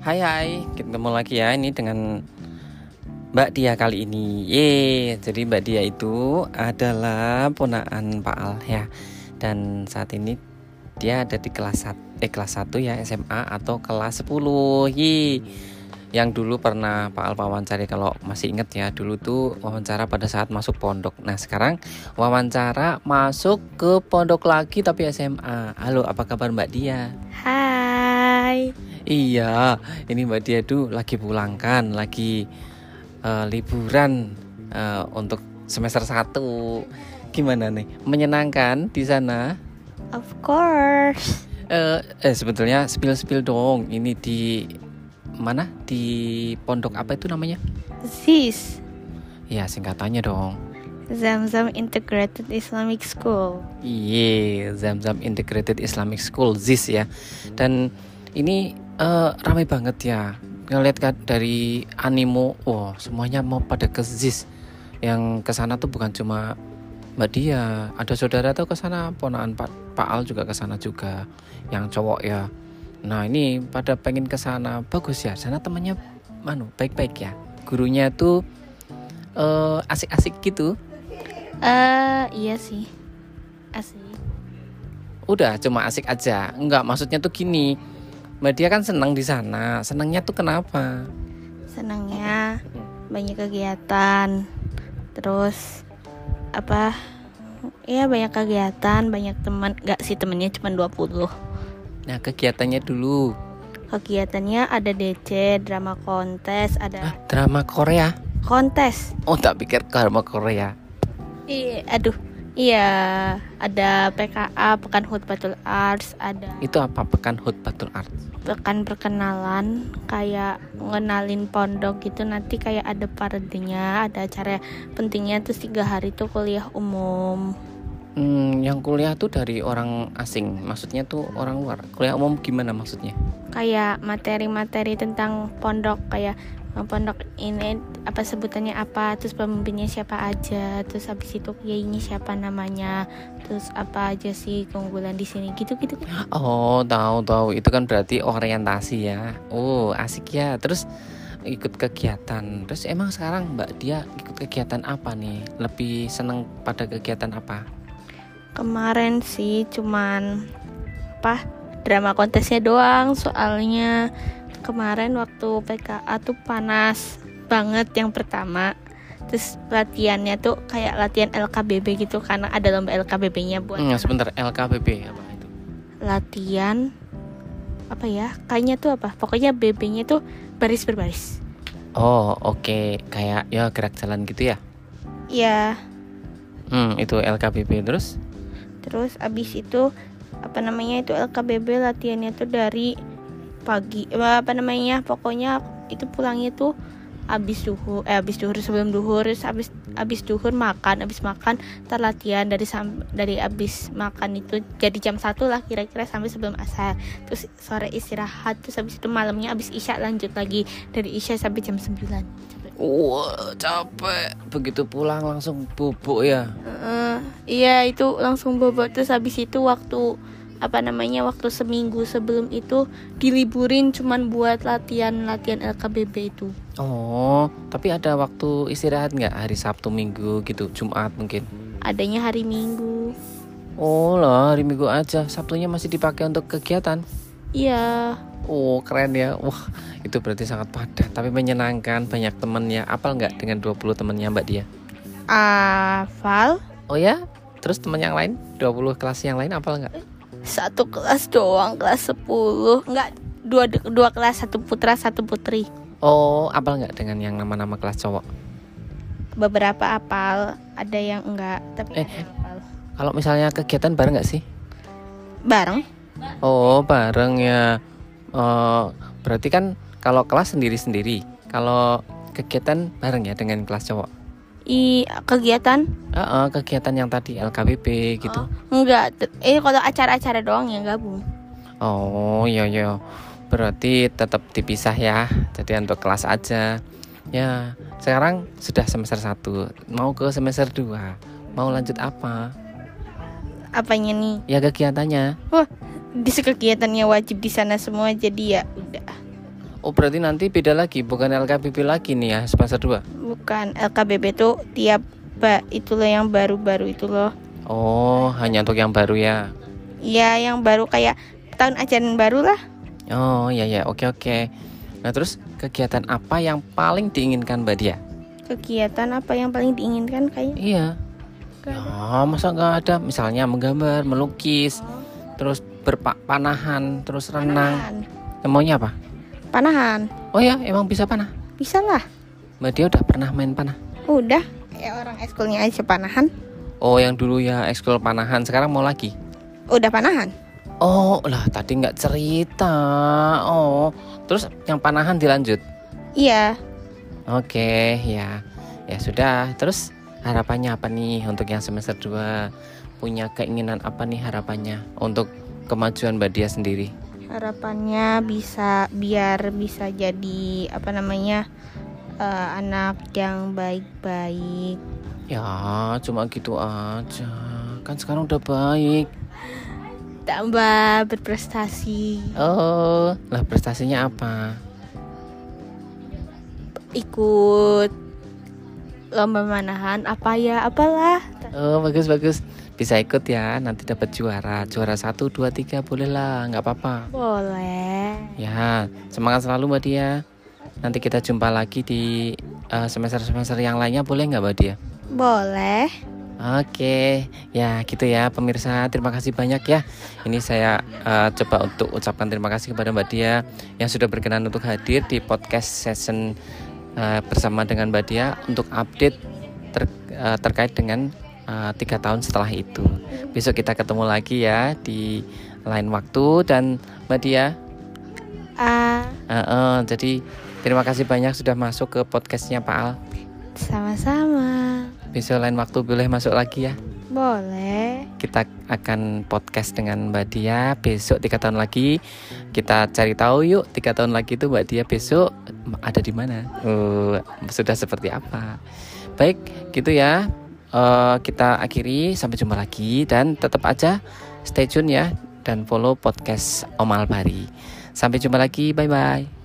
Hai hai, ketemu lagi ya ini dengan Mbak Dia kali ini. Ye, jadi Mbak Dia itu adalah ponaan Pak Al ya. Dan saat ini dia ada di kelas 1 eh kelas 1 ya SMA atau kelas 10. Ye. Yang dulu pernah Pak Al wawancari kalau masih inget ya, dulu tuh wawancara pada saat masuk pondok. Nah, sekarang wawancara masuk ke pondok lagi tapi SMA. Halo, apa kabar Mbak Dia? Hai, Iya, ini Mbak Dia tuh lagi pulang kan, lagi eh, liburan eh, untuk semester 1. Gimana nih? Menyenangkan di sana? of course. Eh, eh sebetulnya spill-spill dong. Ini di mana? Di pondok apa itu namanya? This Ya, singkatannya dong. Zamzam Integrated Islamic School. Iye, Iya, Zamzam Integrated Islamic School ZIS ya. Dan ini eh, ramai banget ya. Ngeliat kan dari animo, wah semuanya mau pada ke ZIS. Yang ke sana tuh bukan cuma Mbak Dia, ada saudara tuh ke sana, ponaan Pak, Pak Al juga ke sana juga. Yang cowok ya. Nah, ini pada pengen ke sana. Bagus ya, sana temannya manu baik-baik ya. Gurunya tuh eh, asik-asik gitu. Eh, iya sih. Asik. udah cuma asik aja enggak maksudnya tuh gini mbak dia kan senang di sana senangnya tuh kenapa Senangnya banyak kegiatan. Terus apa? Iya banyak kegiatan, banyak teman. Gak sih temennya cuma 20. nah kegiatannya dulu Kegiatannya ada DC, drama kontes, Hah, ada drama Korea kontes. oh tak pikir drama Korea Iya, aduh. Iya, ada PKA, Pekan Hut Battle Arts, ada itu apa pekan hot battle art pekan perkenalan kayak ngenalin pondok gitu nanti kayak ada paradenya ada acara pentingnya terus tiga hari tuh kuliah umum hmm, yang kuliah tuh dari orang asing maksudnya tuh orang luar kuliah umum gimana maksudnya kayak materi-materi tentang pondok kayak eh, pondok ini apa sebutannya apa terus pemimpinnya siapa aja terus habis itu kiainya siapa namanya terus apa aja sih keunggulan di sini gitu-gitu oh tahu tahu itu kan berarti orientasi ya oh asik ya terus ikut kegiatan terus emang sekarang mbak dia ikut kegiatan apa nih lebih seneng pada kegiatan apa Kemarin sih cuman apa drama kontesnya doang soalnya kemarin waktu PKA tuh panas banget yang pertama terus latihannya tuh kayak latihan LKBB gitu karena ada lomba LKBB-nya buat Hmm, anak. sebentar LKBB apa itu? latihan apa ya kayaknya tuh apa pokoknya BB-nya tuh baris berbaris Oh, oke, kayak ya gerak jalan gitu ya. ya Hmm, itu LKBB terus? terus abis itu apa namanya itu LKBB latihannya tuh dari pagi eh, apa namanya pokoknya itu pulangnya tuh abis duhur eh abis duhur sebelum duhur terus abis abis duhur makan abis makan ntar latihan dari sam, dari abis makan itu jadi jam satu lah kira-kira sampai sebelum asar terus sore istirahat terus abis itu malamnya abis isya lanjut lagi dari isya sampai jam 9 Sampai- Wah, capek. Begitu pulang langsung bubuk ya. Heeh, iya itu langsung bobot terus habis itu waktu apa namanya waktu seminggu sebelum itu diliburin cuman buat latihan latihan LKBB itu Oh, tapi ada waktu istirahat nggak hari Sabtu Minggu gitu, Jumat mungkin? adanya hari Minggu Oh lah, hari Minggu aja. Sabtunya masih dipakai untuk kegiatan. iya Oh, keren ya. Wah, itu berarti sangat padat tapi menyenangkan, banyak temennya. Apal nggak dengan 20 temennya Mbak Dia? Aval Oh ya? Terus temen yang lain, 20 kelas yang lain apal nggak? satu kelas doang kelas 10 enggak dua dua kelas satu putra satu putri Oh, apal nggak dengan yang nama-nama kelas cowok? beberapa apal ada yang enggak tapi Eh. ada yang apal Kalau misalnya kegiatan bareng nggak sih? bareng Oh, bareng ya. Eh, berarti kan kalau kelas sendiri-sendiri, kalau kegiatan bareng ya dengan kelas cowok. i kegiatan Eh, eh, kegiatan yang tadi LKBP gitu. enggak eh kalau acara-acara doang yang gabung Oh, iya iya. Berarti tetap dipisah ya. Jadi untuk kelas aja. Ya, sekarang sudah semester 1, mau ke semester 2. Mau lanjut apa? apanya nih Ya kegiatannya. di kegiatannya wajib di sana semua jadi ya udah Oh berarti nanti beda lagi, bukan LKBB lagi nih ya semester 2 bukan LKBB tuh tiap ba itu loh yang baru-baru itu loh Oh hanya untuk yang baru ya. ya yang baru kayak tahun ajaran baru lah Oh iya ya oke oke. Nah terus kegiatan apa yang paling diinginkan mbak dia? kegiatan apa yang paling diinginkan kayak Iya. Ya masa nggak ada? Misalnya menggambar, melukis, terus berpanahan, terus renang. panahan Maunya apa? panahan Oh ya emang bisa panah. bisa lah Mbak dia udah pernah main panah. udah ya orang eskulnya aja panahan Oh yang dulu ya ekskul panahan sekarang mau lagi. udah panahan Oh lah tadi nggak cerita. Oh terus yang panahan dilanjut. iya Oke ya ya sudah. Terus harapannya apa nih untuk yang semester 2 punya keinginan apa nih harapannya untuk kemajuan mbak dia sendiri? harapannya bisa biar bisa jadi apa namanya eh, anak yang baik-baik Ya cuma gitu aja. Kan sekarang udah baik. tambah berprestasi Oh lah prestasinya apa? ikut lomba manahan apa ya apalah Oh bagus bagus bisa ikut ya nanti dapat juara juara satu dua tiga boleh lah nggak apa-apa boleh ya semangat selalu mbak dia nanti kita jumpa lagi di semester semester yang lainnya boleh nggak mbak dia boleh Oke, ya gitu ya pemirsa. Terima kasih banyak ya. Ini saya eh, coba untuk ucapkan terima kasih kepada Mbak Dia yang sudah berkenan untuk hadir di podcast session eh, bersama dengan Mbak Dia untuk update ter- eh, terkait dengan eh, tiga tahun setelah itu. Besok kita ketemu lagi ya di lain waktu dan Mbak Dia. ah eh, eh, jadi terima kasih banyak sudah masuk ke podcastnya Pak Al. sama-sama Besok lain waktu boleh masuk lagi ya. boleh kita akan podcast dengan Mbak Dia besok tiga tahun lagi kita cari tahu yuk tiga tahun lagi itu Mbak Dia besok ada di mana Eh, sudah seperti apa baik gitu ya Eh, kita akhiri sampai jumpa lagi dan tetap aja stay tune ya dan follow podcast Omal Bari sampai jumpa lagi bye bye